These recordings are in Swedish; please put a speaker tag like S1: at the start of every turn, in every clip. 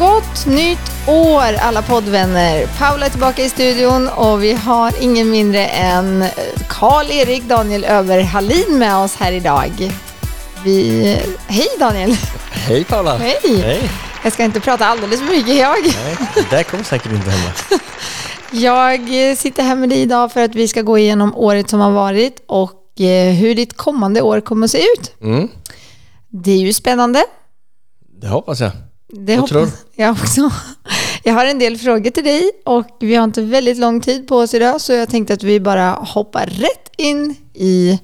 S1: Gott nytt år alla poddvänner! Paula är tillbaka i studion och vi har ingen mindre än Karl-Erik Daniel Öberg Hallin med oss här idag. Vi... Hej Daniel!
S2: Hej Paula!
S1: Hej!
S2: Hej.
S1: Jag ska inte prata alldeles för mycket jag.
S2: Nej, det där kommer säkert inte hända.
S1: Jag sitter här med dig idag för att vi ska gå igenom året som har varit och eh, hur ditt kommande år kommer att se ut.
S2: Mm,
S1: Det är ju spännande.
S2: det hoppas jag.
S1: Det
S2: Vad
S1: hoppas
S2: tror du?
S1: jag också. Jag har en del frågor till dig och vi har inte väldigt lång tid på oss idag så jag tänkte att vi bara hoppar rätt in i,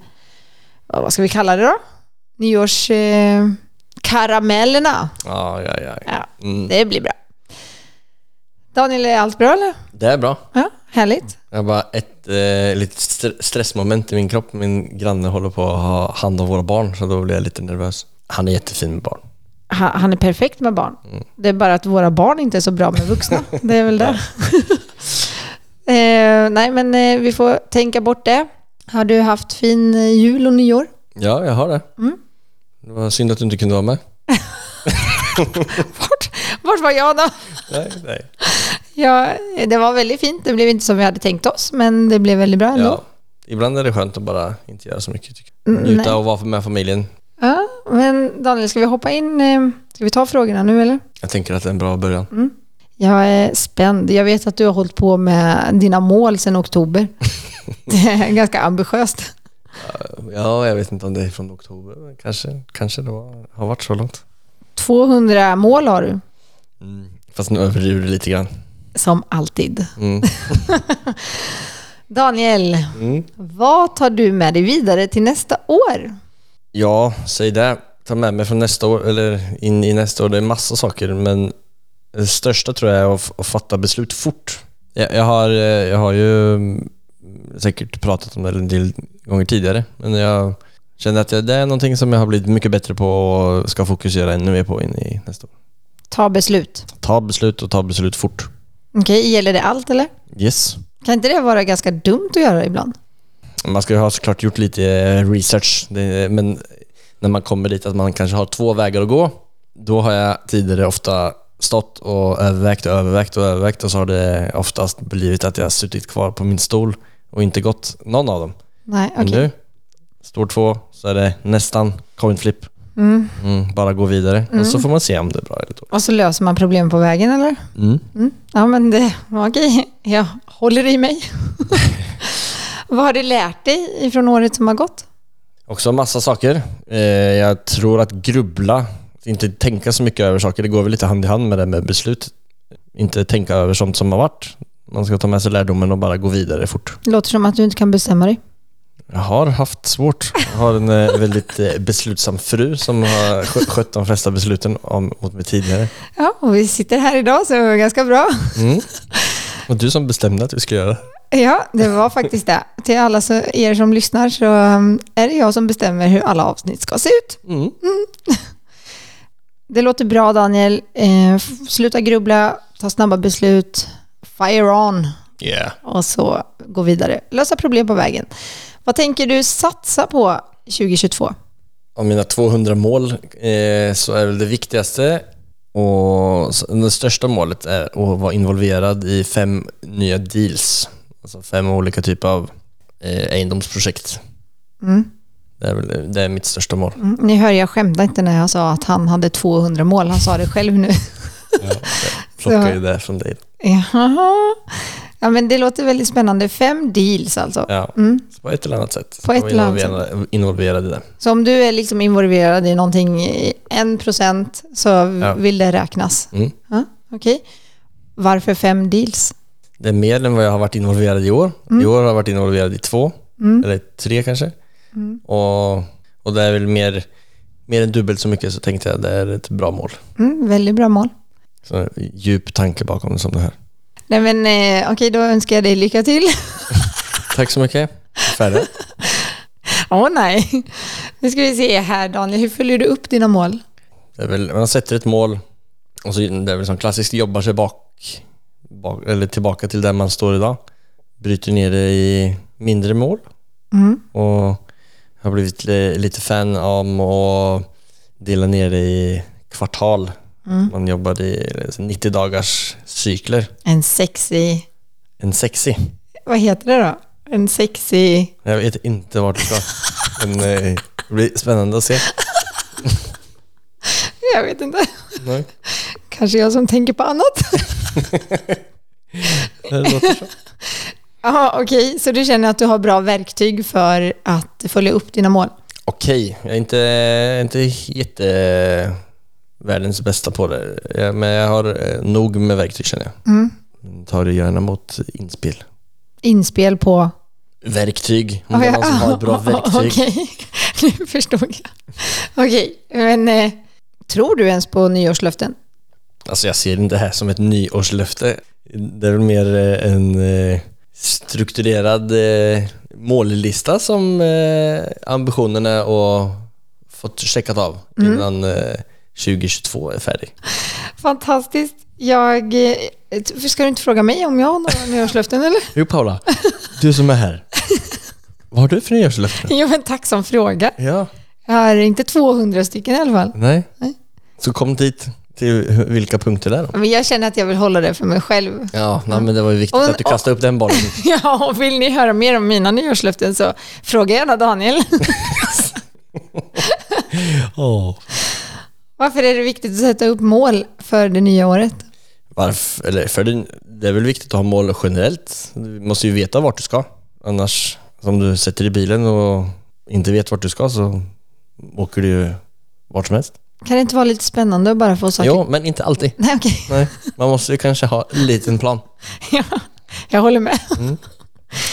S1: ja, vad ska vi kalla det då? Nyårskaramellerna. Eh, karamellerna.
S2: Ja, ja, ja.
S1: ja,
S2: Mm.
S1: det blir bra. Daniel, är allt bra eller?
S2: Det är bra.
S1: Ja, härligt.
S2: Jag har bara ett eh, litet str- stressmoment i min kropp. Min granne håller på att ha hand om våra barn, så då blir jag lite nervös. Han är jättefin med barn.
S1: Han, han är perfekt med barn. Det är bara att våra barn inte är så bra med vuxna. Det är väl det. eh, nej, men eh, vi får tänka bort det. Har du haft fin eh, jul och nyår?
S2: Ja, jag har det. Mm. Det var synd att du inte kunde vara med.
S1: Vart, vart var jag då?
S2: Nej, nej.
S1: Ja, eh, det var väldigt fint. Det blev inte som vi hade tänkt oss, men det blev väldigt bra ändå.
S2: Ja. Ibland är det skönt att bara inte göra så mycket. Tycker
S1: Mm,
S2: jag.
S1: nej.
S2: Njuta och vara med familjen.
S1: Ja, men Daniel, ska vi hoppa in? eh, Ska vi ta frågorna nu eller?
S2: Jag tänker att det är en bra början.
S1: Jag är spänd. Jag vet att du har hållit på med dina mål sedan oktober. Det är ganska ambitiöst.
S2: Ja, jag vet inte om det är från oktober. men Kanske, kanske det var, har varit så långt.
S1: 200 mål har du,
S2: Fast nu överdriver du lite grann.
S1: som alltid.
S2: Mm.
S1: Daniel,
S2: Mm.
S1: vad tar du med dig vidare till nästa år?
S2: Ja, säg det. Ta med mig från nästa år, eller in i nästa år. Det är massa saker, men det största tror jag är att, f- att fatta beslut fort. Jag, jag, har, eh, jag har ju mm, säkert pratat om det en del gånger tidigare, men jag känner att jag, det är någonting som jag har blivit mycket bättre på och ska fokusera ännu mer på in i nästa år.
S1: Ta beslut.
S2: Ta beslut och ta beslut fort.
S1: Okej, gäller det allt eller?
S2: Yes.
S1: Kan inte det vara ganska dumt att göra ibland?
S2: Man ska ju ha såklart gjort lite eh, research, det, men när man kommer dit att man kanske har två vägar att gå. Då har jag tidigare ofta stått och övervägt och övervägt och övervägt och så har det oftast blivit att jag suttit kvar på min stol och inte gått någon av dem.
S1: Nej, okej.
S2: Men nu, står två, så är det nästan coin flip.
S1: Mm.
S2: Mm, bara gå vidare och så får man se om det är bra eller dåligt.
S1: Och så löser man problem på vägen eller?
S2: Mm.
S1: Ja, men det var okej. Jag håller i mig. Vad har du lärt dig ifrån året som har gått?
S2: Också massa saker. Eh, jag tror att grubbla, inte tänka så mycket över saker, det går väl lite hand i hand med det med beslut. Inte tänka över sånt som har varit. Man ska ta med sig lärdomen och bara gå vidare fort.
S1: Det låter som att du inte kan bestämma dig.
S2: Jag har haft svårt. Jag har en eh, väldigt eh, beslutsam fru som har skö- skött de flesta besluten om, mot mig tidigare.
S1: Ja, och vi sitter här idag så det var ganska bra.
S2: Mm. Och du som bestämde att vi skulle göra det.
S1: Ja, det var faktiskt det. Till alla så, er som lyssnar så um, är det jag som bestämmer hur alla avsnitt ska se ut.
S2: Mm.
S1: Det låter bra Daniel. Eh, f- sluta grubbla, ta snabba beslut, fire on
S2: Yeah.
S1: och så gå vidare. Lösa problem på vägen. Vad tänker du satsa på 2022?
S2: av mina 200 mål eh, så är väl det viktigaste och s- det största målet är att vara involverad i fem nya deals. Alltså fem olika typer av eh, egendomsprojekt.
S1: Mm.
S2: Det är, väl, det är mitt största mål.
S1: Mm, Ni hör, jag skämtade inte när jag sa att han hade 200 mål. Han sa det själv nu.
S2: Plockar
S1: Så-
S2: ju det från dig.
S1: Jaha. Ja, men det låter väldigt spännande. Fem deals alltså.
S2: Ja.
S1: Mm.
S2: Så på ett eller annat sätt.
S1: På ett eller annat
S2: sätt. Involverad i det.
S1: Så om du är liksom involverad i någonting i 1% så
S2: Ja.
S1: vill det räknas?
S2: Mm.
S1: Ja, Okej. Varför fem deals?
S2: Det är mer än vad jag har varit involverad i år. I år har jag varit involverad i två,
S1: Mm.
S2: eller tre kanske. Och, och det är väl mer, mer än dubbelt så mycket så tänkte jag det är ett bra mål.
S1: Mm, väldigt bra mål.
S2: Så en djup tanke bakom det som det här.
S1: Nej men eh, okej, då önskar jag dig lycka till.
S2: Tack så mycket. Färre.
S1: Åh nej. Nu ska vi se här Daniel, hur följer du upp dina mål?
S2: Det är väl, man sätter ett mål och så det är väl som klassiskt jobbar sig bak, bak eller tillbaka till där man står idag. Bryter ner det i mindre mål och har blivit li- lite fan om att dela ner det i kvartal. Man jobbar i 90 dagars cykler.
S1: En sexy,
S2: En sexy.
S1: vad heter det då? En sexy...
S2: Jag vet inte vart det ska. Men eh, det blir spännande att se.
S1: Jag vet inte.
S2: Nej,
S1: Kanske jag som tänker på annat.
S2: det låter så.
S1: Jaha, okej. Så du känner att du har bra verktyg för att följa upp dina mål?
S2: Okej, jag är inte, inte jätte världens bästa på det. Eh, Men jag har eh, nog med verktyg känner jag. Mm, Tar det gärna mot inspel.
S1: Inspel på...
S2: Verktyg, om det är någon som har ett bra verktyg.
S1: Okej, nu förstod jag. Okej, men eh, tror du ens på nyårslöften?
S2: Alltså jag ser inte det här som ett nyårslöfte. Det är väl mer eh, en eh, strukturerad eh, mållista som eh, ambitionerna och fått checkat av innan eh, 2022 är färdig.
S1: Fantastiskt. Jag... eh, t- Ska du inte fråga mig om jag har några nyårslöften eller?
S2: Jo Paula, du som är här. Vad har du för nyårslöften?
S1: Jo men tack som fråga.
S2: Ja,
S1: Jag har inte 200 stycken i alla fall.
S2: nej.
S1: Nej.
S2: Så kom dit till hu- vilka punkter där då?
S1: Men jag känner att jag vill hålla det för mig själv.
S2: Ja, nej, men det var ju viktigt
S1: Och-
S2: att du kastade upp den bollen.
S1: Ja, och vill ni höra mer om mina nyårslöften så fråga gärna Daniel.
S2: Åh.
S1: Varför är det viktigt att sätta upp mål för det nya året?
S2: Varför? Eller för det, det är väl viktigt att ha mål generellt. Du måste ju veta vart du ska. Annars, om du sätter i bilen och inte vet vart du ska så åker du ju vart som helst.
S1: Kan det inte vara lite spännande att bara få saker?
S2: Jo, men inte alltid.
S1: Nej, okej.
S2: Nej, man måste ju kanske ha en liten plan.
S1: Ja, jag håller med.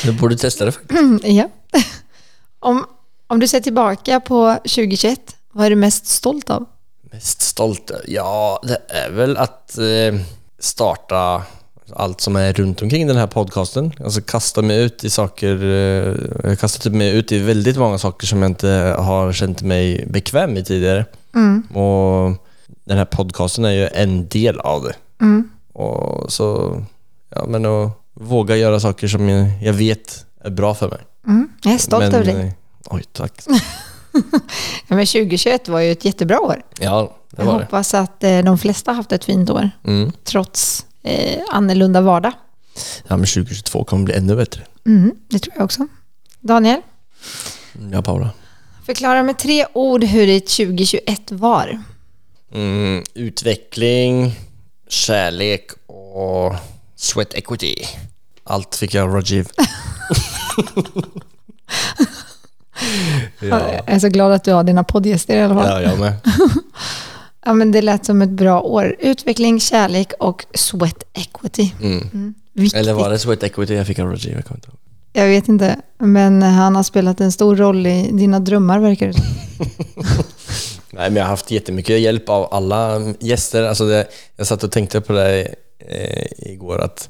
S2: Du borde testa det. faktiskt.
S1: Ja. Om, om du ser tillbaka på 2021, vad är du mest stolt av?
S2: Mest stolt? Ja, det är väl att eh, starta allt som är runt omkring den här podcasten. Alltså kasta mig ut i saker, eh, jag kastat typ mig ut i väldigt många saker som jag inte har känt mig bekväm i tidigare.
S1: Mm.
S2: Och den här podcasten är ju en del av det.
S1: Mm.
S2: Och så, ja men att våga göra saker som jag, jag vet är bra för mig.
S1: Jag är stolt
S2: men,
S1: över dig. Mm.
S2: eh, Oj, tack.
S1: Ja, men 2021 var ju ett jättebra år.
S2: Ja, det
S1: Jag
S2: var det.
S1: hoppas att eh, de flesta har haft ett fint år,
S2: Mm.
S1: trots eh, annorlunda vardag.
S2: Ja, men 2022 kommer bli ännu bättre.
S1: Mm, det tror jag också. Daniel,
S2: Ja, Paula.
S1: förklara med tre ord hur ditt 2021 var.
S2: Mm, utveckling, kärlek och sweat equity. Allt fick jag av Rajiv. ja.
S1: Jag är så glad att du har dina poddgäster i alla fall.
S2: ja, jag med.
S1: Ja, men det lät som ett bra år. Utveckling, kärlek och sweat equity. Mm. Viktigt.
S2: Eller var det sweat equity jag fick av Rajiv? Jag kommer inte ihåg.
S1: Jag vet inte, men han har spelat en stor roll i dina drömmar verkar det som.
S2: Nej, men jag har haft jättemycket hjälp av alla gäster. Alltså det, jag satt och tänkte på det eh, igår, att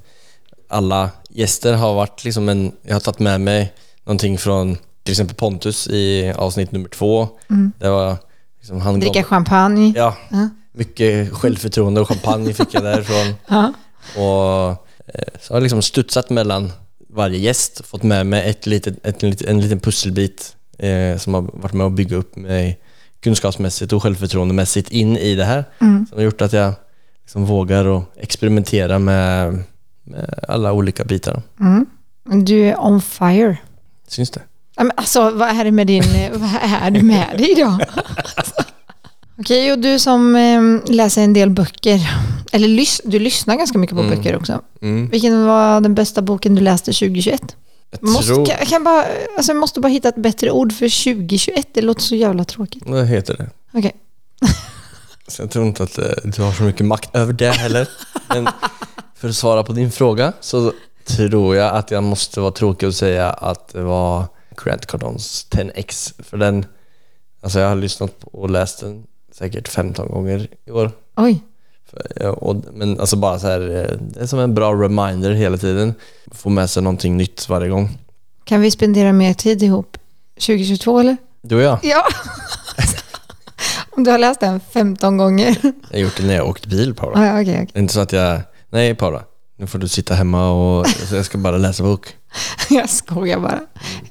S2: alla gäster har varit liksom en... Jag har tagit med mig någonting från till exempel Pontus i avsnitt nummer två. Det var liksom han gav-
S1: Dricka champagne.
S2: Mm. Ja,
S1: Ja.
S2: mycket självförtroende och champagne fick jag därifrån.
S1: Ja.
S2: Och eh, så har jag liksom studsat mellan varje gäst, fått med mig ett litet, ett, litet- en liten pusselbit eh, som har varit med och bygga upp mig kunskapsmässigt och självförtroendemässigt in i det här. Som har gjort att jag liksom vågar och experimentera med, med alla olika bitar.
S1: Du är on fire.
S2: Syns det?
S1: Ja, men Alltså, vad är det med din... Vad är det med dig idag? Alltså. Okej, och du som eh, läser en del böcker, eller lys, du lyssnar ganska mycket på böcker också.
S2: Mm.
S1: Vilken var den bästa boken du läste 2021?
S2: Jag
S1: Måste,
S2: tror...
S1: kan, kan bara, alltså jag måste bara hitta ett bättre ord för 2021. Det låter så jävla tråkigt.
S2: Vad heter det?
S1: Okej.
S2: Så jag tror inte att eh, du har så mycket makt över det heller. Men för att svara på din fråga så tror jag att jag måste vara tråkig och säga att det var Grant Cardons 10X. För den, alltså jag har lyssnat på och läst den säkert 15 gånger i år.
S1: Oj.
S2: För, ja, och, men alltså bara så här, eh, det är som en bra reminder hela tiden. Få med sig någonting nytt varje gång.
S1: Kan vi spendera mer tid ihop 2022 eller?
S2: Du och jag.
S1: Ja. Om du har läst den 15 gånger.
S2: Jag har gjort det när jag har åkt bil Paula.
S1: Ah, ja, okej, okej.
S2: Det är inte så att jag... Nej Paula, nu får du sitta hemma och jag ska bara läsa bok.
S1: Jag skojar bara.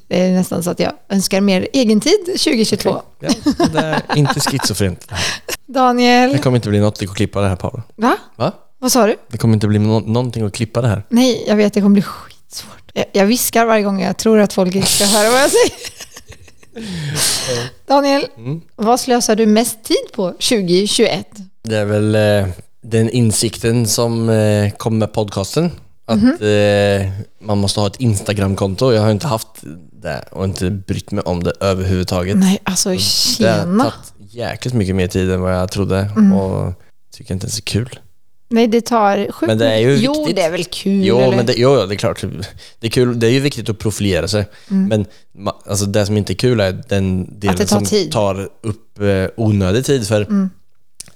S1: Det är nästan så att jag önskar mer egentid 2022.
S2: Ja, det är inte schizofrent. Det
S1: Daniel,
S2: kommer inte bli något att klippa det här Paula.
S1: va?
S2: Va?
S1: Vad sa du?
S2: Det kommer inte bli nå- någonting att klippa det här.
S1: Nej, jag vet, det kommer bli skitsvårt. Jag, jag viskar varje gång jag tror att folk inte ska höra vad jag säger. Daniel,
S2: Mm.
S1: vad slösar du mest tid på 2021?
S2: Det är väl eh, den insikten som eh, kom med podcasten. Att eh, man måste ha ett Instagramkonto. Jag har inte haft det och inte brytt mig om det överhuvudtaget.
S1: Nej, alltså
S2: Mm. Det har
S1: tjena.
S2: tagit jäkligt mycket mer tid än vad jag trodde och tycker inte ens det är kul.
S1: Nej, det tar sjukt
S2: Men det är ju
S1: mycket- Jo,
S2: viktigt.
S1: det är väl kul?
S2: Jo,
S1: eller?
S2: men det, jo, ja, det är klart. Det är, kul, det är ju viktigt att profilera sig. Men ma- alltså, det som inte är kul är den delen
S1: Mm. Att det tar
S2: som
S1: tid. Mm.
S2: tar upp eh, onödig tid. För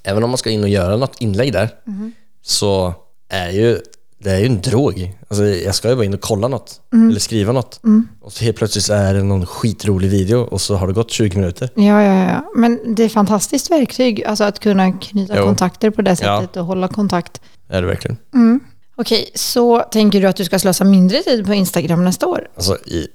S2: även om man ska in och göra något inlägg där
S1: Mm-hmm.
S2: så är ju det är ju en drog. Alltså, jag ska ju bara in och kolla något
S1: Mm.
S2: eller skriva något. Och så helt plötsligt så är det någon skitrolig video och så har det gått 20 minuter.
S1: Ja, ja, ja. Men det är ett fantastiskt verktyg, alltså att kunna knyta
S2: Jo.
S1: kontakter på det sättet och hålla kontakt.
S2: Är det verkligen?
S1: Okej, så tänker du att du ska slösa mindre tid på Instagram nästa år?
S2: Alltså i, i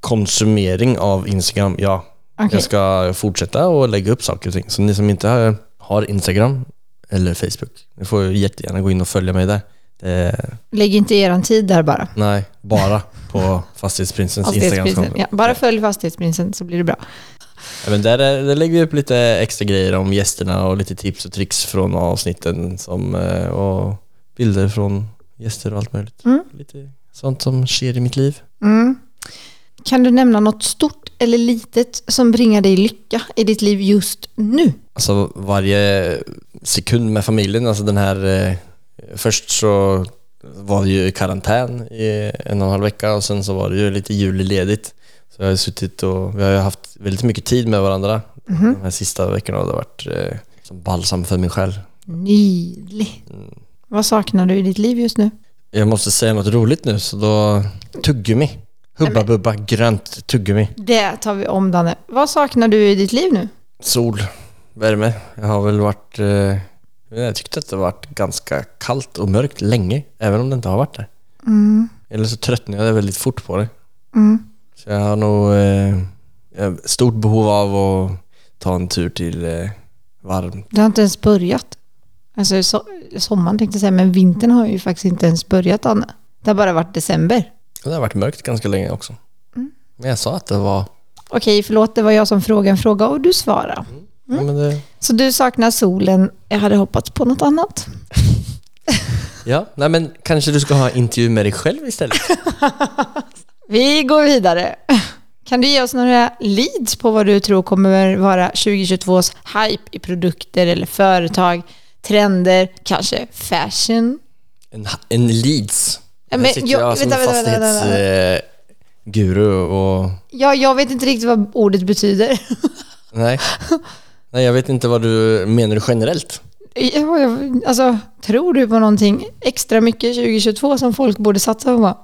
S2: konsumering av Instagram, ja.
S1: Okej.
S2: Jag ska fortsätta och lägga upp saker och ting. Så ni som inte har, har Instagram eller Facebook, ni får ju jättegärna gå in och följa mig där. Eh,
S1: Lägg inte er tid där bara.
S2: nej, bara på Fastighetsprinsens
S1: Fastighetsprinsen.
S2: Instagram.
S1: Ja, bara följ fastighetsprinsen så blir det bra.
S2: Men där, är- där lägger vi upp lite extra grejer om gästerna och lite tips och tricks från avsnitten som, eh, och bilder från gäster och allt möjligt.
S1: Mm.
S2: Lite sånt som sker i mitt liv.
S1: Kan du nämna något stort eller litet som bringar dig lycka i ditt liv just nu?
S2: Alltså varje sekund med familjen, alltså den här eh, Först så var det ju i karantän i en och en halv vecka och sen så var det ju lite julledigt Så jag har ju suttit och, vi har ju haft väldigt mycket tid med varandra de här sista veckorna och det har varit eh, som balsam för min själ
S1: Nydligt.
S2: Mm.
S1: Vad saknar du i ditt liv just nu?
S2: Jag måste säga något roligt nu så då, tuggummi Hubba Bubba, grönt tuggummi
S1: Det tar vi om, Danne. Vad saknar du i ditt liv nu?
S2: Sol, värme. Jag har väl varit... Eh, jag tyckte att det har varit ganska kallt och mörkt länge, även om det inte har varit det.
S1: Mm.
S2: Eller så tröttnade jag väldigt fort på det. Så jag har nog eh, jag har stort behov av att ta en tur till eh, varm...
S1: Det har inte ens börjat. Alltså so sommaren tänkte jag säga, men vintern har ju faktiskt inte ens börjat Anna. Det har bara varit december.
S2: Det har varit mörkt ganska länge också.
S1: Mm.
S2: Men jag sa att det var...
S1: Okej, förlåt, det var jag som frågade en fråga och du svarade. Mm.
S2: Ja, men det,
S1: Så du saknar solen. Jag hade hoppats på något annat.
S2: ja, nej men kanske du ska ha en intervju med dig själv istället.
S1: Vi går vidare. Kan du ge oss några leads på vad du tror kommer vara 2022s hype i produkter eller företag, trender, kanske fashion?
S2: En, en leads.
S1: Ja,
S2: Här
S1: men
S2: sitter
S1: jag-
S2: jag som
S1: vänta, vänta, vänta, vänta,
S2: fastighetsguru och...
S1: Ja, jag vet inte riktigt vad ordet betyder.
S2: Nej. Nej, jag vet inte vad du menar generellt.
S1: Ja, jag, alltså, tror du på någonting extra mycket 2022 som folk borde satsa på?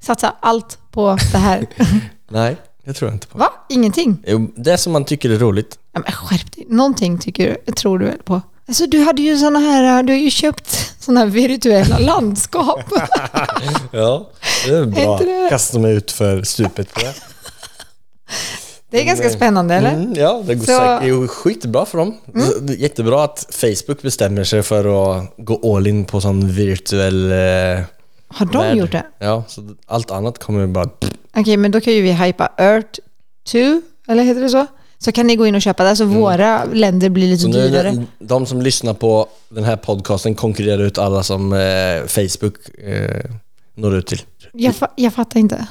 S1: Satsa allt på det här.
S2: Nej, jag tror inte på.
S1: Va? Ingenting?
S2: Jo, Det som man tycker är roligt.
S1: Ja, men skärp dig. Någonting tycker du, tror du väl på? Alltså, du hade ju såna här, du har ju köpt såna här virtuella landskap.
S2: Ja, det är
S1: Inte det?
S2: Kasta mig ut för stupet på det.
S1: Det är ganska spännande, eller?
S2: Mm, ja, det går
S1: Så- Mm.
S2: säkert. Det är ju skitbra för dem. Det är Jättebra att Facebook bestämmer sig för att gå all in på sån virtuell... Eh,
S1: Har de
S2: värld.
S1: gjort det?
S2: Ja, så allt annat kommer bara...
S1: Okej, men då kan ju vi hypa Earth 2, eller heter det så? Så kan ni gå in och köpa det, så våra länder blir lite
S2: Mm. Så nu,
S1: dyrare.
S2: nu- de som lyssnar på den här podcasten konkurrerar ut alla som eh, Facebook eh, når ut till.
S1: Jag, fa- jag fattar inte.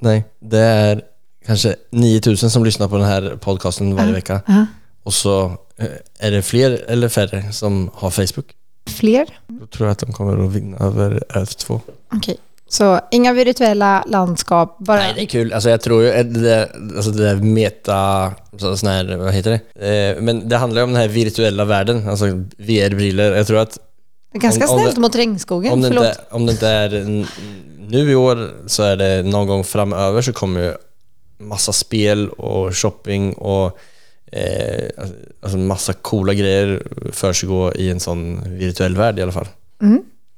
S2: Nej, det är kanske 9000 som lyssnar på den här podcasten varje vecka.
S1: Ja.
S2: Och så eh, är det fler eller färre som har Facebook.
S1: Fler?
S2: Då tror jag att de kommer att vinna över Earth2.
S1: Okej, så inga virtuella landskap, bara...
S2: Nej, det är kul. Alltså jag tror ju att det där, alltså det där meta, så- sån här, vad heter det? Eh, Men det handlar ju om den här virtuella världen, alltså VR-briller. Jag tror att
S1: Ganska
S2: om- om
S1: snällt
S2: det-
S1: mot regnskogen,
S2: om det,
S1: förlåt.
S2: inte, om det inte är n- nu i år så är det någon gång framöver så kommer ju massa spel och shopping och eh, alltså massa coola grejer försiggå i en sån virtuell värld i alla fall.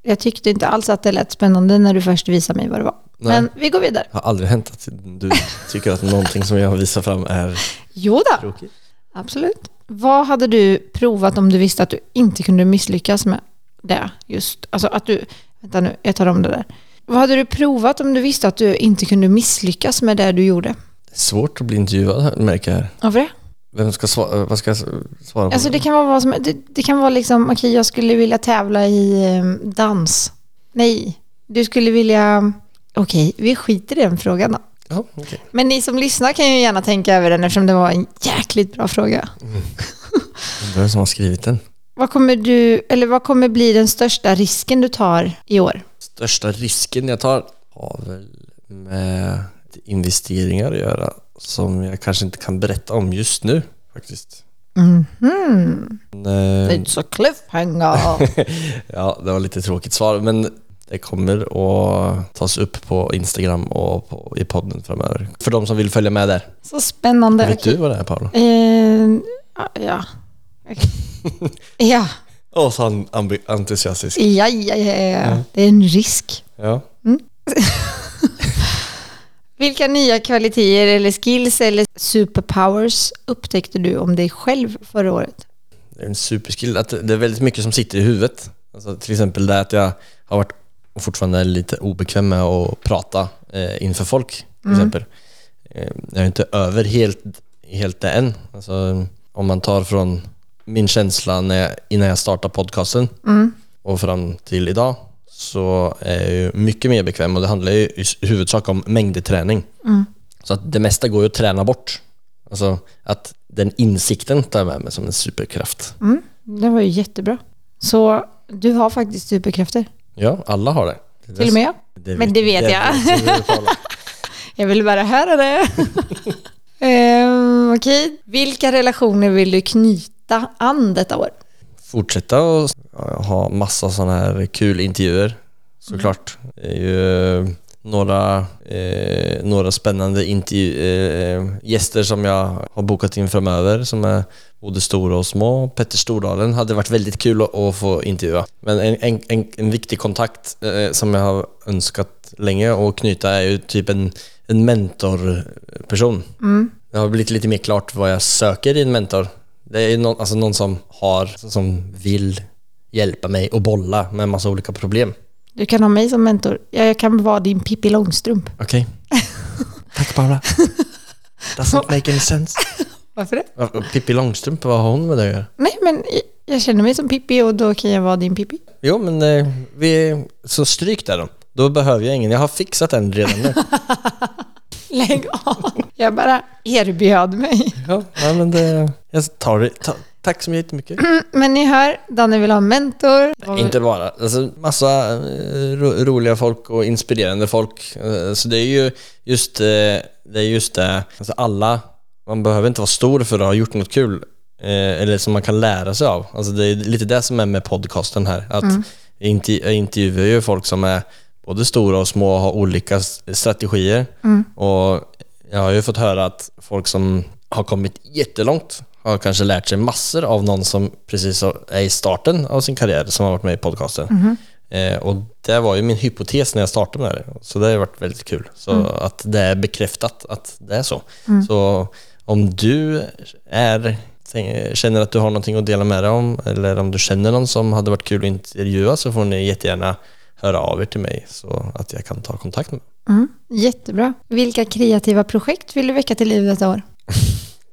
S1: Jag tyckte inte alls att det lät spännande när du först visade mig vad det var.
S2: Nej.
S1: Men vi går vidare.
S2: Det har aldrig hänt att du tycker att någonting som jag visar fram är
S1: Jo då,
S2: tråkigt.
S1: absolut. Vad hade du provat om du visste att du inte kunde misslyckas med det? Just, alltså att du, vänta nu, jag tar om det där. Vad hade du provat om du visste att du inte kunde misslyckas med det du gjorde?
S2: Svårt att bli intervjuad här, märker jag. här.
S1: Varför det?
S2: Vem ska svara, vad ska jag svara på?
S1: Alltså det kan vara vad som, det, det kan vara liksom, okej jag skulle vilja tävla i eh, dans. Nej, du skulle vilja, okej vi skiter i den frågan då.
S2: ja, okej.
S1: Men ni som lyssnar kan ju gärna tänka över den eftersom det var en jäkligt bra fråga.
S2: Undrar vem som har skrivit den.
S1: Vad kommer du, eller vad kommer bli den största risken du tar i år?
S2: Största risken jag tar har väl med investeringar att göra som jag kanske inte kan berätta om just nu faktiskt. Men, eh,
S1: It's a cliffhanger.
S2: ja, det var lite tråkigt svar men det kommer att tas upp på Instagram och på, i podden framöver. För de som vill följa med där.
S1: Så spännande.
S2: Vet du vad det är Paolo?
S1: Eh, ja, ja. Okej. ja,
S2: Åh, så han- ambi- entusiastisk.
S1: ja, ja, ja, ja. Det är en risk.
S2: Ja.
S1: Vilka nya kvaliteter eller skills eller superpowers upptäckte du om dig själv förra året?
S2: Det är en superskill. Att det är väldigt mycket som sitter i huvudet. Alltså, till exempel det att jag har varit och fortfarande är lite obekväm med att prata eh, inför folk. Till exempel. Eh, jag är inte över helt, helt det än. Alltså, om man tar från min känsla när jag, innan jag startade podcasten och fram till idag så är jag ju mycket mer bekväm och det handlar ju i s- huvudsak om mängdträning. Så att det mesta går ju att träna bort. Alltså att den insikten tar jag med mig som en superkraft.
S1: Det var ju jättebra. Så du har faktiskt superkrafter,
S2: Ja, alla har det. det
S1: till och med jag. Men det vet jag.
S2: vet alla.
S1: Jag vill bara höra det. um, Okej, vilka relationer vill du knyta an detta år?
S2: Fortsätta och ha massa sådana här kul intervjuer såklart. Det är ju eh, några, eh, några spännande intervju- eh, gäster som jag har bokat in framöver som är både stora och små. Petter Stordalen hade varit väldigt kul att, att få intervjua. Men en, en, en, en viktig kontakt eh, som jag har önskat länge att knyta är ju typ en, en mentorperson. Det har blivit lite mer klart vad jag söker i en mentor. Det är ju någon, alltså någon som har, alltså som vill hjälpa mig och bolla med en massa olika problem.
S1: Du kan ha mig som mentor. Ja, Jag kan vara din Pippi Långstrump.
S2: Okej. Tack Paula. Doesn't make any sense.
S1: Varför det?
S2: Varför- Pippi Långstrump, vad har hon med det att göra?
S1: Nej, men jag känner mig som Pippi och då kan jag vara din Pippi.
S2: Jo, men eh, vi, så stryk där då. Då behöver jag ingen. Jag har fixat en redan nu.
S1: Lägg av. Jag bara erbjöd mig.
S2: Ja, nej, men det, jag tar det. Ta, tack så jättemycket.
S1: Men ni hör, Danne vill ha en mentor.
S2: Inte bara. Alltså, massa eh, ro, roliga folk och inspirerande folk. Eh, Så det är ju just eh, det. Är just det. Alltså, alla, man behöver inte vara stor för att ha gjort något kul. eh, Eller som man kan lära sig av. Alltså, det är lite det som är med podcasten här. Att jag interv- jag intervjuar ju folk som är både stora och små och har olika s- strategier. Och jag har ju fått höra att folk som har kommit jättelångt har kanske lärt sig massor av någon som precis har- är i starten av sin karriär som har varit med i podcasten. Eh, och det var ju min hypotes när jag startade med det. Så det har ju varit väldigt kul. Så att det är bekräftat att det är så. Så om du är, känner att du har någonting att dela med dig om eller om du känner någon som hade varit kul att intervjua så får ni jättegärna höra av er till mig så att jag kan ta kontakt med
S1: Mm, jättebra. Vilka kreativa projekt vill du väcka till liv detta år?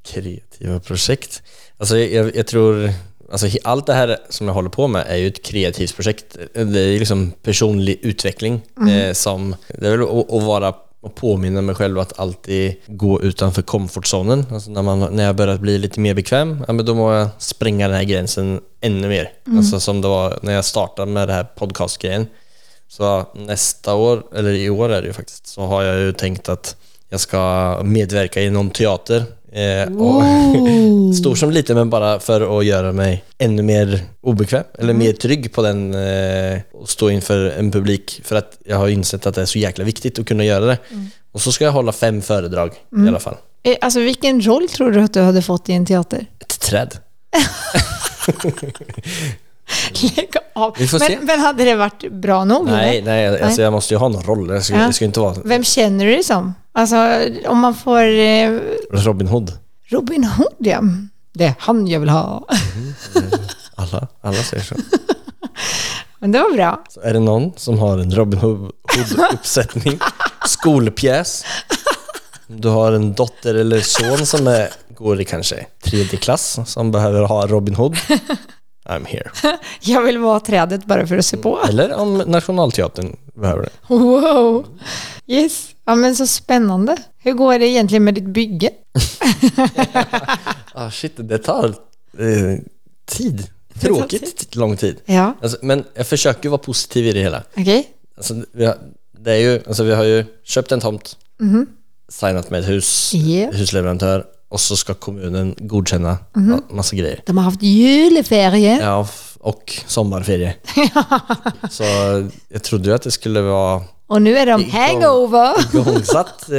S2: kreativa projekt. Alltså jag, jag, jag tror, alltså he- allt det här som jag håller på med är ju ett kreativt projekt. Det är ju liksom personlig utveckling eh, som, det är väl att, att vara och påminna mig själv att alltid gå utanför komfortzonen. Alltså när, man, när jag börjat bli lite mer bekväm, ja, men då må jag spränga den här gränsen ännu mer. Alltså som det var när jag startade med det här podcastgrejen. Så nästa år, eller i år är det ju faktiskt, så har jag ju tänkt att jag ska medverka i någon teater Eh, och
S1: Ooh.
S2: stor som liten, men bara för att göra mig ännu mer obekväm eller
S1: Mm.
S2: mer trygg på den eh, och stå inför en publik. För att jag har insett att det är så jäkla viktigt att kunna göra det.
S1: Mm.
S2: Och så ska jag hålla fem föredrag i alla fall.
S1: Eh, Alltså vilken roll tror du att du hade fått i en teater?
S2: Ett träd.
S1: Lägg av.
S2: Vi får se.
S1: men, men hade det varit bra nog?
S2: Nej,
S1: eller?
S2: nej, alltså jag måste ju ha någon roll. Det ska,
S1: Ja.
S2: det ska ju inte vara
S1: Vem känner du dig som? Alltså om man får eh,
S2: Robin Hood.
S1: Robin Hood, ja. Det är han jag vill ha.
S2: Alla, alla säger så.
S1: Men det var bra.
S2: så. Är det någon som har en Robin Hood- Hood-uppsättning? Skolpjäs? Du har en dotter eller son som är, går i kanske tredje klass som behöver ha Robin Hood? I'm here.
S1: Jag vill vara trädet bara för att se på.
S2: Eller om Nationalteatern behöver det.
S1: Wow! Yes. Ja, men så spännande. Hur går det egentligen med ditt bygge?
S2: Ah, shit, det tar eh, tid. Tråkigt lång tid.
S1: Ja,
S2: Alltså, men jag försöker vara positiv i det hela.
S1: okej.
S2: Alltså, vi, har, det är ju, alltså, vi har ju köpt en tomt, signat med ett hus,
S1: Ja.
S2: husleverantör och så ska kommunen godkänna ma- massa grejer.
S1: De har haft julferie.
S2: Ja, f- och sommarferie. så jag trodde ju att det skulle vara
S1: Och nu är de hangover.
S2: igångsatt eh,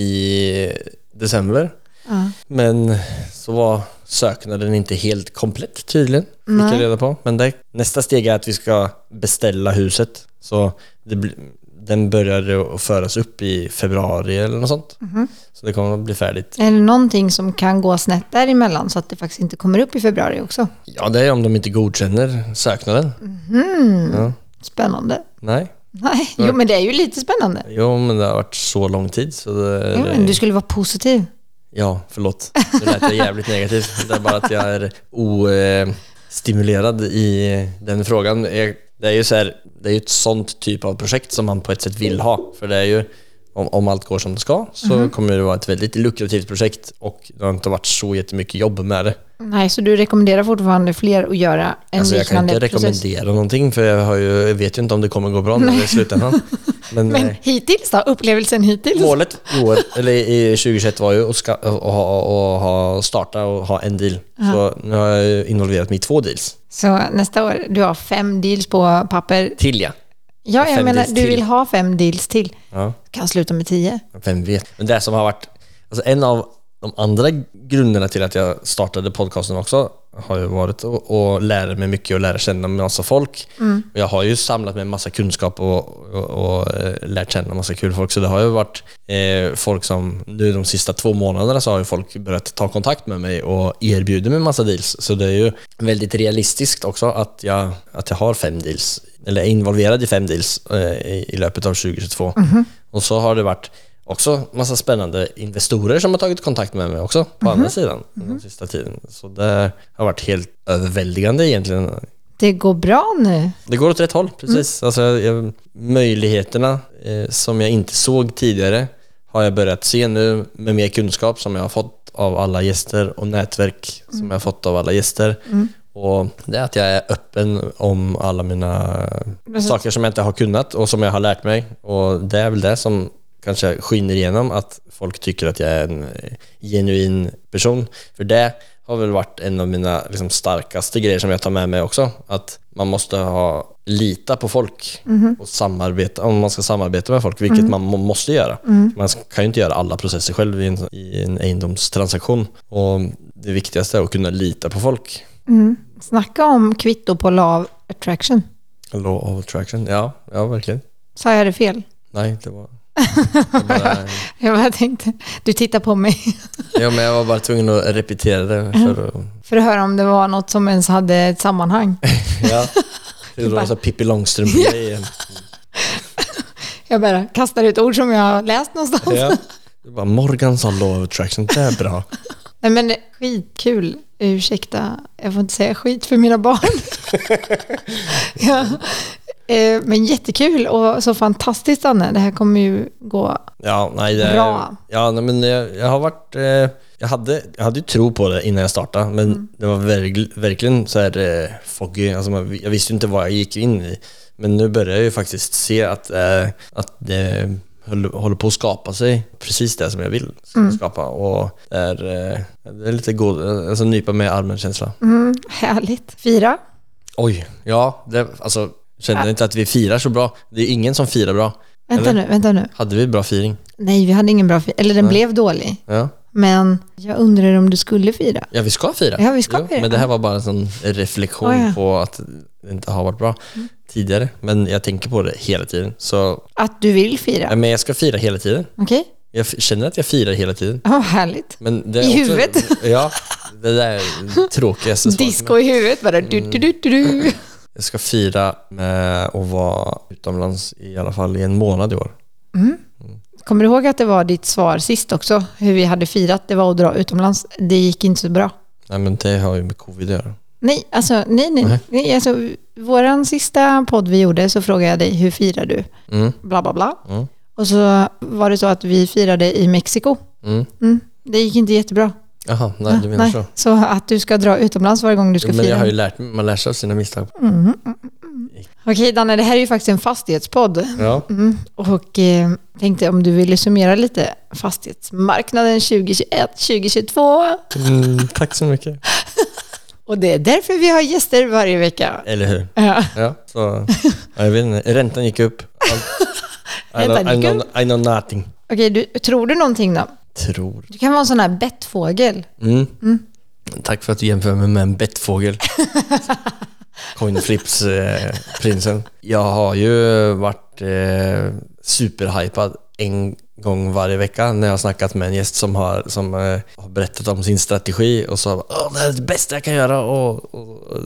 S2: i december.
S1: Ja.
S2: Men så var söknaden inte helt komplett tydligen, fick jag reda på. Men det, nästa steg är att vi ska beställa huset. Så det, bli- den började att föras upp i februari eller något sånt.
S1: Mhm.
S2: Så det kommer att bli färdigt.
S1: Är det någonting som kan gå snett däremellan så att det faktiskt inte kommer upp i februari också?
S2: Ja, det är om de inte godkänner söknaden.
S1: Mm.
S2: Ja.
S1: Spännande.
S2: Nej,
S1: Nej, jo men det är ju lite spännande.
S2: jo men det har varit så lång tid så det,
S1: Jo, men du skulle vara positiv.
S2: Ja, förlåt. Nu lät jag jävligt negativ. Det är bara att jag är ostimulerad i den frågan. Jag- Det är ju så här, det är ju ett sånt typ av projekt som man på ett sätt vill ha. För det är ju, om, om allt går som det ska så
S1: Mhm.
S2: kommer det vara ett väldigt lukrativt projekt och det har inte varit så jättemycket jobb med det.
S1: Nej, så du rekommenderar fortfarande fler att göra en
S2: Alltså jag kan
S1: liknande
S2: inte
S1: process?
S2: rekommendera någonting för jag, har ju, jag vet ju inte om det kommer gå bra när det i slutändan. Men,
S1: Men
S2: eh,
S1: hittills då? Upplevelsen hittills?
S2: målet i år, eller i 2021 var ju att, ska, att, ha, att ha starta och ha en deal. Så nu har jag ju involverat mig i två deals.
S1: Så nästa år, du har fem deals på papper.
S2: Till ja.
S1: Ja, jag
S2: Fem
S1: menar,
S2: deals
S1: du
S2: till.
S1: vill ha fem deals till.
S2: ja.
S1: Kan sluta med tio.
S2: Vem vet. Men det som har varit, alltså en av de andra grunderna till att jag startade podcasten också har ju varit att, att lära mig mycket och lära känna massa folk. Och Jag har ju samlat mig en massa kunskap och, och, och eh, lärt känna massa kul folk. Så det har ju varit eh, folk som, nu de sista två månaderna så har ju folk börjat ta kontakt med mig och erbjuder mig massa deals. Så det är ju väldigt realistiskt också att jag, att jag har fem deals, eller är involverad i fem deals eh, i, i löpet av 2022. Och så har det varit också massa spännande investorer som har tagit kontakt med mig också på andra sidan den sista tiden. Så det har varit helt överväldigande egentligen.
S1: Det går bra nu.
S2: Det går åt rätt håll, precis. Alltså, jag, möjligheterna eh, som jag inte såg tidigare har jag börjat se nu med mer kunskap som jag har fått av alla gäster och nätverk som jag har fått av alla gäster. Och det är att jag är öppen om alla mina
S1: Precis.
S2: saker som jag inte har kunnat och som jag har lärt mig. Och det är väl det som kanske skiner igenom att folk tycker att jag är en eh, genuin person. För det har väl varit en av mina liksom, starkaste grejer som jag tar med mig också. Att man måste ha, lita på folk och samarbeta, om man ska samarbeta med folk, vilket man må- måste göra. Man kan ju inte göra alla processer själv i en, i en egendomstransaktion. Och det viktigaste är att kunna lita på folk.
S1: Snacka om kvitto på law attraction.
S2: Law of attraction, ja, ja verkligen.
S1: Sa jag det fel?
S2: Nej, det var... Jag, bara,
S1: Jag bara tänkte, du tittar på mig
S2: ja, men jag var bara tvungen att repetera det för att...
S1: för att höra om det var något som ens hade ett sammanhang.
S2: Ja. Det var så Pippi Långstrump-grejen.
S1: Jag bara kastar ut ord som jag har läst någonstans.
S2: Ja. Det var Morgan sa Law of attraction, det är bra.
S1: Nej men det- skitkul. Ursäkta, jag får inte säga skit för mina barn. ja. Eh, Men jättekul och så fantastiskt Anne. Det här kommer ju gå.
S2: Ja, nej, det,
S1: Bra.
S2: Ja, nej, men jag, jag har varit... Eh, jag, hade, jag hade ju tro på det innan jag startade, men det var verg, verkligen så här eh, foggy. Alltså man, jag visste ju inte vad jag gick in i. Men nu börjar jag ju faktiskt se att, eh, att det höll- håller på att skapa sig precis det som jag vill skapa. Och det är, eh, det är lite god, alltså nypa med armen-känsla.
S1: Mm, härligt. Fira.
S2: Oj, ja, det, alltså känner jag inte att vi firar så bra. Det är ingen som firar bra.
S1: Vänta
S2: Eller?
S1: nu, vänta nu.
S2: Hade vi bra firing?
S1: Nej, vi hade ingen bra fira. Eller den blev dålig.
S2: Ja,
S1: Men jag undrar om du skulle fira.
S2: ja vi ska fira.
S1: Ja, vi ska fira.
S2: Men det här var bara en sån reflektion
S1: Oh, ja. Mm.
S2: på att det inte har varit bra tidigare. Men jag tänker på det hela tiden. Så
S1: Att du vill
S2: ja,
S1: fira.
S2: men jag ska fira hela tiden.
S1: Okej?
S2: Jag f- känner att jag firar hela tiden.
S1: Ja, härligt.
S2: Men det är
S1: I
S2: också-
S1: huvudet.
S2: Ja, det där är tråkigaste svaret.
S1: Disco i huvudet bara. Du, du, du, du, du.
S2: Jag ska fira med att vara utomlands i alla fall i en månad i år.
S1: Kommer du ihåg att det var ditt svar sist också? Hur vi hade firat, det var att dra utomlands. Det gick inte så bra.
S2: Nej men det har ju med covid att göra.
S1: Nej, alltså, nej, nej.
S2: Nej.
S1: nej alltså, våran sista podd vi gjorde så frågade jag dig, hur firar du?
S2: Mm,
S1: Bla, bla, bla.
S2: Mm.
S1: Och så var det så att vi firade i Mexiko.
S2: mm.
S1: Mm. Det gick inte jättebra.
S2: Jaha, nej du menar så.
S1: så att du ska dra utomlands varje gång du ska
S2: Men
S1: fira.
S2: jag har ju lärt mig, man lär sig av sina misstag.
S1: Mm. Okej, Danne, det här är ju faktiskt en fastighetspodd.
S2: Ja.
S1: Mm. Och eh, tänkte om du ville summera lite fastighetsmarknaden 2021, 2022.
S2: Mm, tack så mycket.
S1: Och det är därför vi har gäster varje vecka.
S2: Eller hur?
S1: Ja.
S2: Ja, så, ja, jag vet inte. Räntan gick upp. Allt- I,
S1: Räntan
S2: know, I,
S1: gick
S2: know, I know nothing.
S1: Okej, du, tror du någonting då?
S2: Tror.
S1: Du kan vara en sån här bettfågel.
S2: Mm. Tack för att du jämför mig med en bettfågel. Coinflips-prinsen. jag har ju varit eh, superhypad en gång varje vecka när jag har snackat med en gäst som har, som, eh, har berättat om sin strategi och så Åh, det här är det bästa jag kan göra och, och, och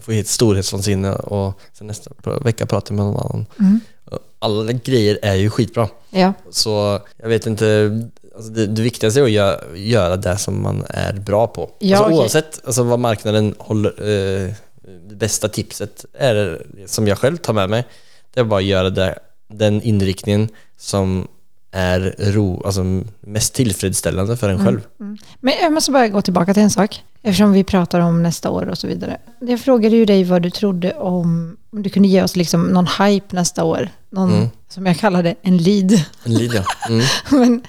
S2: få hit storhetsvansinne och sen nästa pr- vecka pratar jag med någon annan. Och Alla grejer är ju skitbra.
S1: Ja.
S2: Så jag vet inte, alltså det, det viktigaste är att göra, göra det som man är bra på.
S1: Ja,
S2: alltså,
S1: okej.
S2: Oavsett alltså, vad marknaden håller, eh, det bästa tipset är, som jag själv tar med mig, det är bara att göra det, den inriktningen som är ro, alltså, mest tillfredsställande för en
S1: Mm,
S2: själv.
S1: Men jag måste bara gå tillbaka till en sak. Eftersom vi pratar om nästa år och så vidare. Jag frågade ju dig vad du trodde om, om du kunde ge oss liksom någon hype nästa år. Någon, som jag kallade en lead.
S2: En lead, ja. Mm.
S1: Men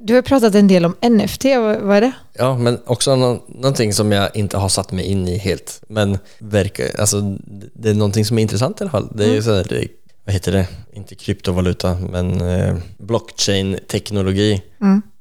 S1: du har pratat en del om NFT, vad, vad är det?
S2: Ja, men också nå- någonting som jag inte har satt mig in i helt. Men verkar, alltså, det är någonting som är intressant i alla fall. Det är ju så här, eh, vad heter det? Inte kryptovaluta, men eh, blockchain-teknologi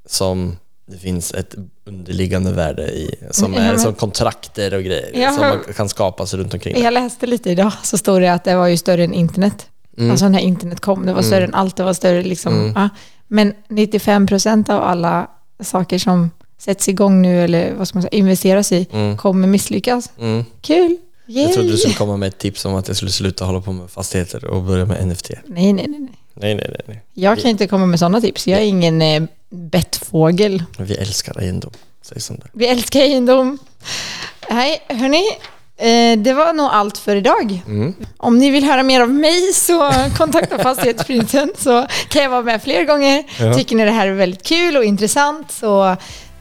S2: som det finns ett underliggande värde i. Som
S1: Ja,
S2: är
S1: men-
S2: som kontrakter och grejer
S1: Ja,
S2: som
S1: men-
S2: man kan skapas runt omkring. det.
S1: Jag läste lite idag så stod det att det var ju större än internet.
S2: Mm.
S1: Alltså när internet kom, det var större än allt, det var större liksom. Ja. Men 95 procent av alla saker som sätts igång nu eller vad ska man säga, investeras i kommer misslyckas.
S2: Mm.
S1: Kul! Yay.
S2: Jag trodde du skulle komma med ett tips om att jag skulle sluta hålla på med fastigheter och börja med NFT.
S1: Nej, nej, nej. nej.
S2: Nej, nej, nej. nej.
S1: Jag kan inte komma med sådana tips. Jag är ingen eh, bettfågel.
S2: Vi älskar egendom. Säg sånt där.
S1: Vi älskar egendom. Nej, hörni. eh, Det var nog allt för idag. Om ni vill höra mer av mig så kontakta Fastighetsprinsen så kan jag vara med fler gånger.
S2: Ja.
S1: Tycker ni det här är väldigt kul och intressant så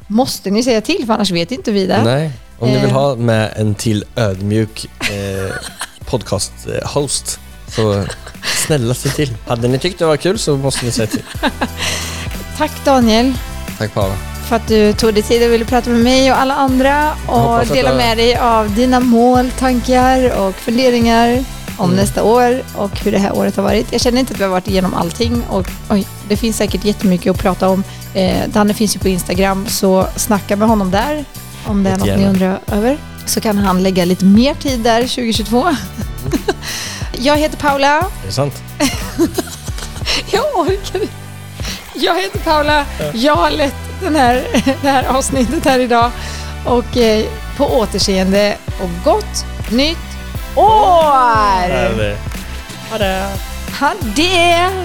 S1: måste ni säga till för annars vet inte vi det.
S2: Nej, om ni
S1: Eh.
S2: vill ha med en till ödmjuk eh, podcast-host så snälla se till. Hade ni tyckt det var kul så måste ni säga till.
S1: Tack Daniel
S2: Tack Paula.
S1: för att du tog dig tid och ville prata med mig och alla andra och
S2: hoppas att
S1: dela
S2: det-
S1: med dig av dina mål, tankar och funderingar om
S2: Mm.
S1: nästa år och hur det här året har varit. Jag känner inte att vi har varit igenom allting och oj, det finns säkert jättemycket att prata om. Eh, Danne finns ju på Instagram så snacka med honom där om det är något ni
S2: Jättegärna.
S1: undrar över. Så kan han lägga lite mer tid där 2022.
S2: Mm.
S1: Jag heter Paula.
S2: Är det sant?
S1: Jag orkar inte. Jag heter Paula. Jag har lett den här, det här avsnittet här idag. Och eh, på återseende och gott nytt år!
S2: Eller?
S1: Ha det!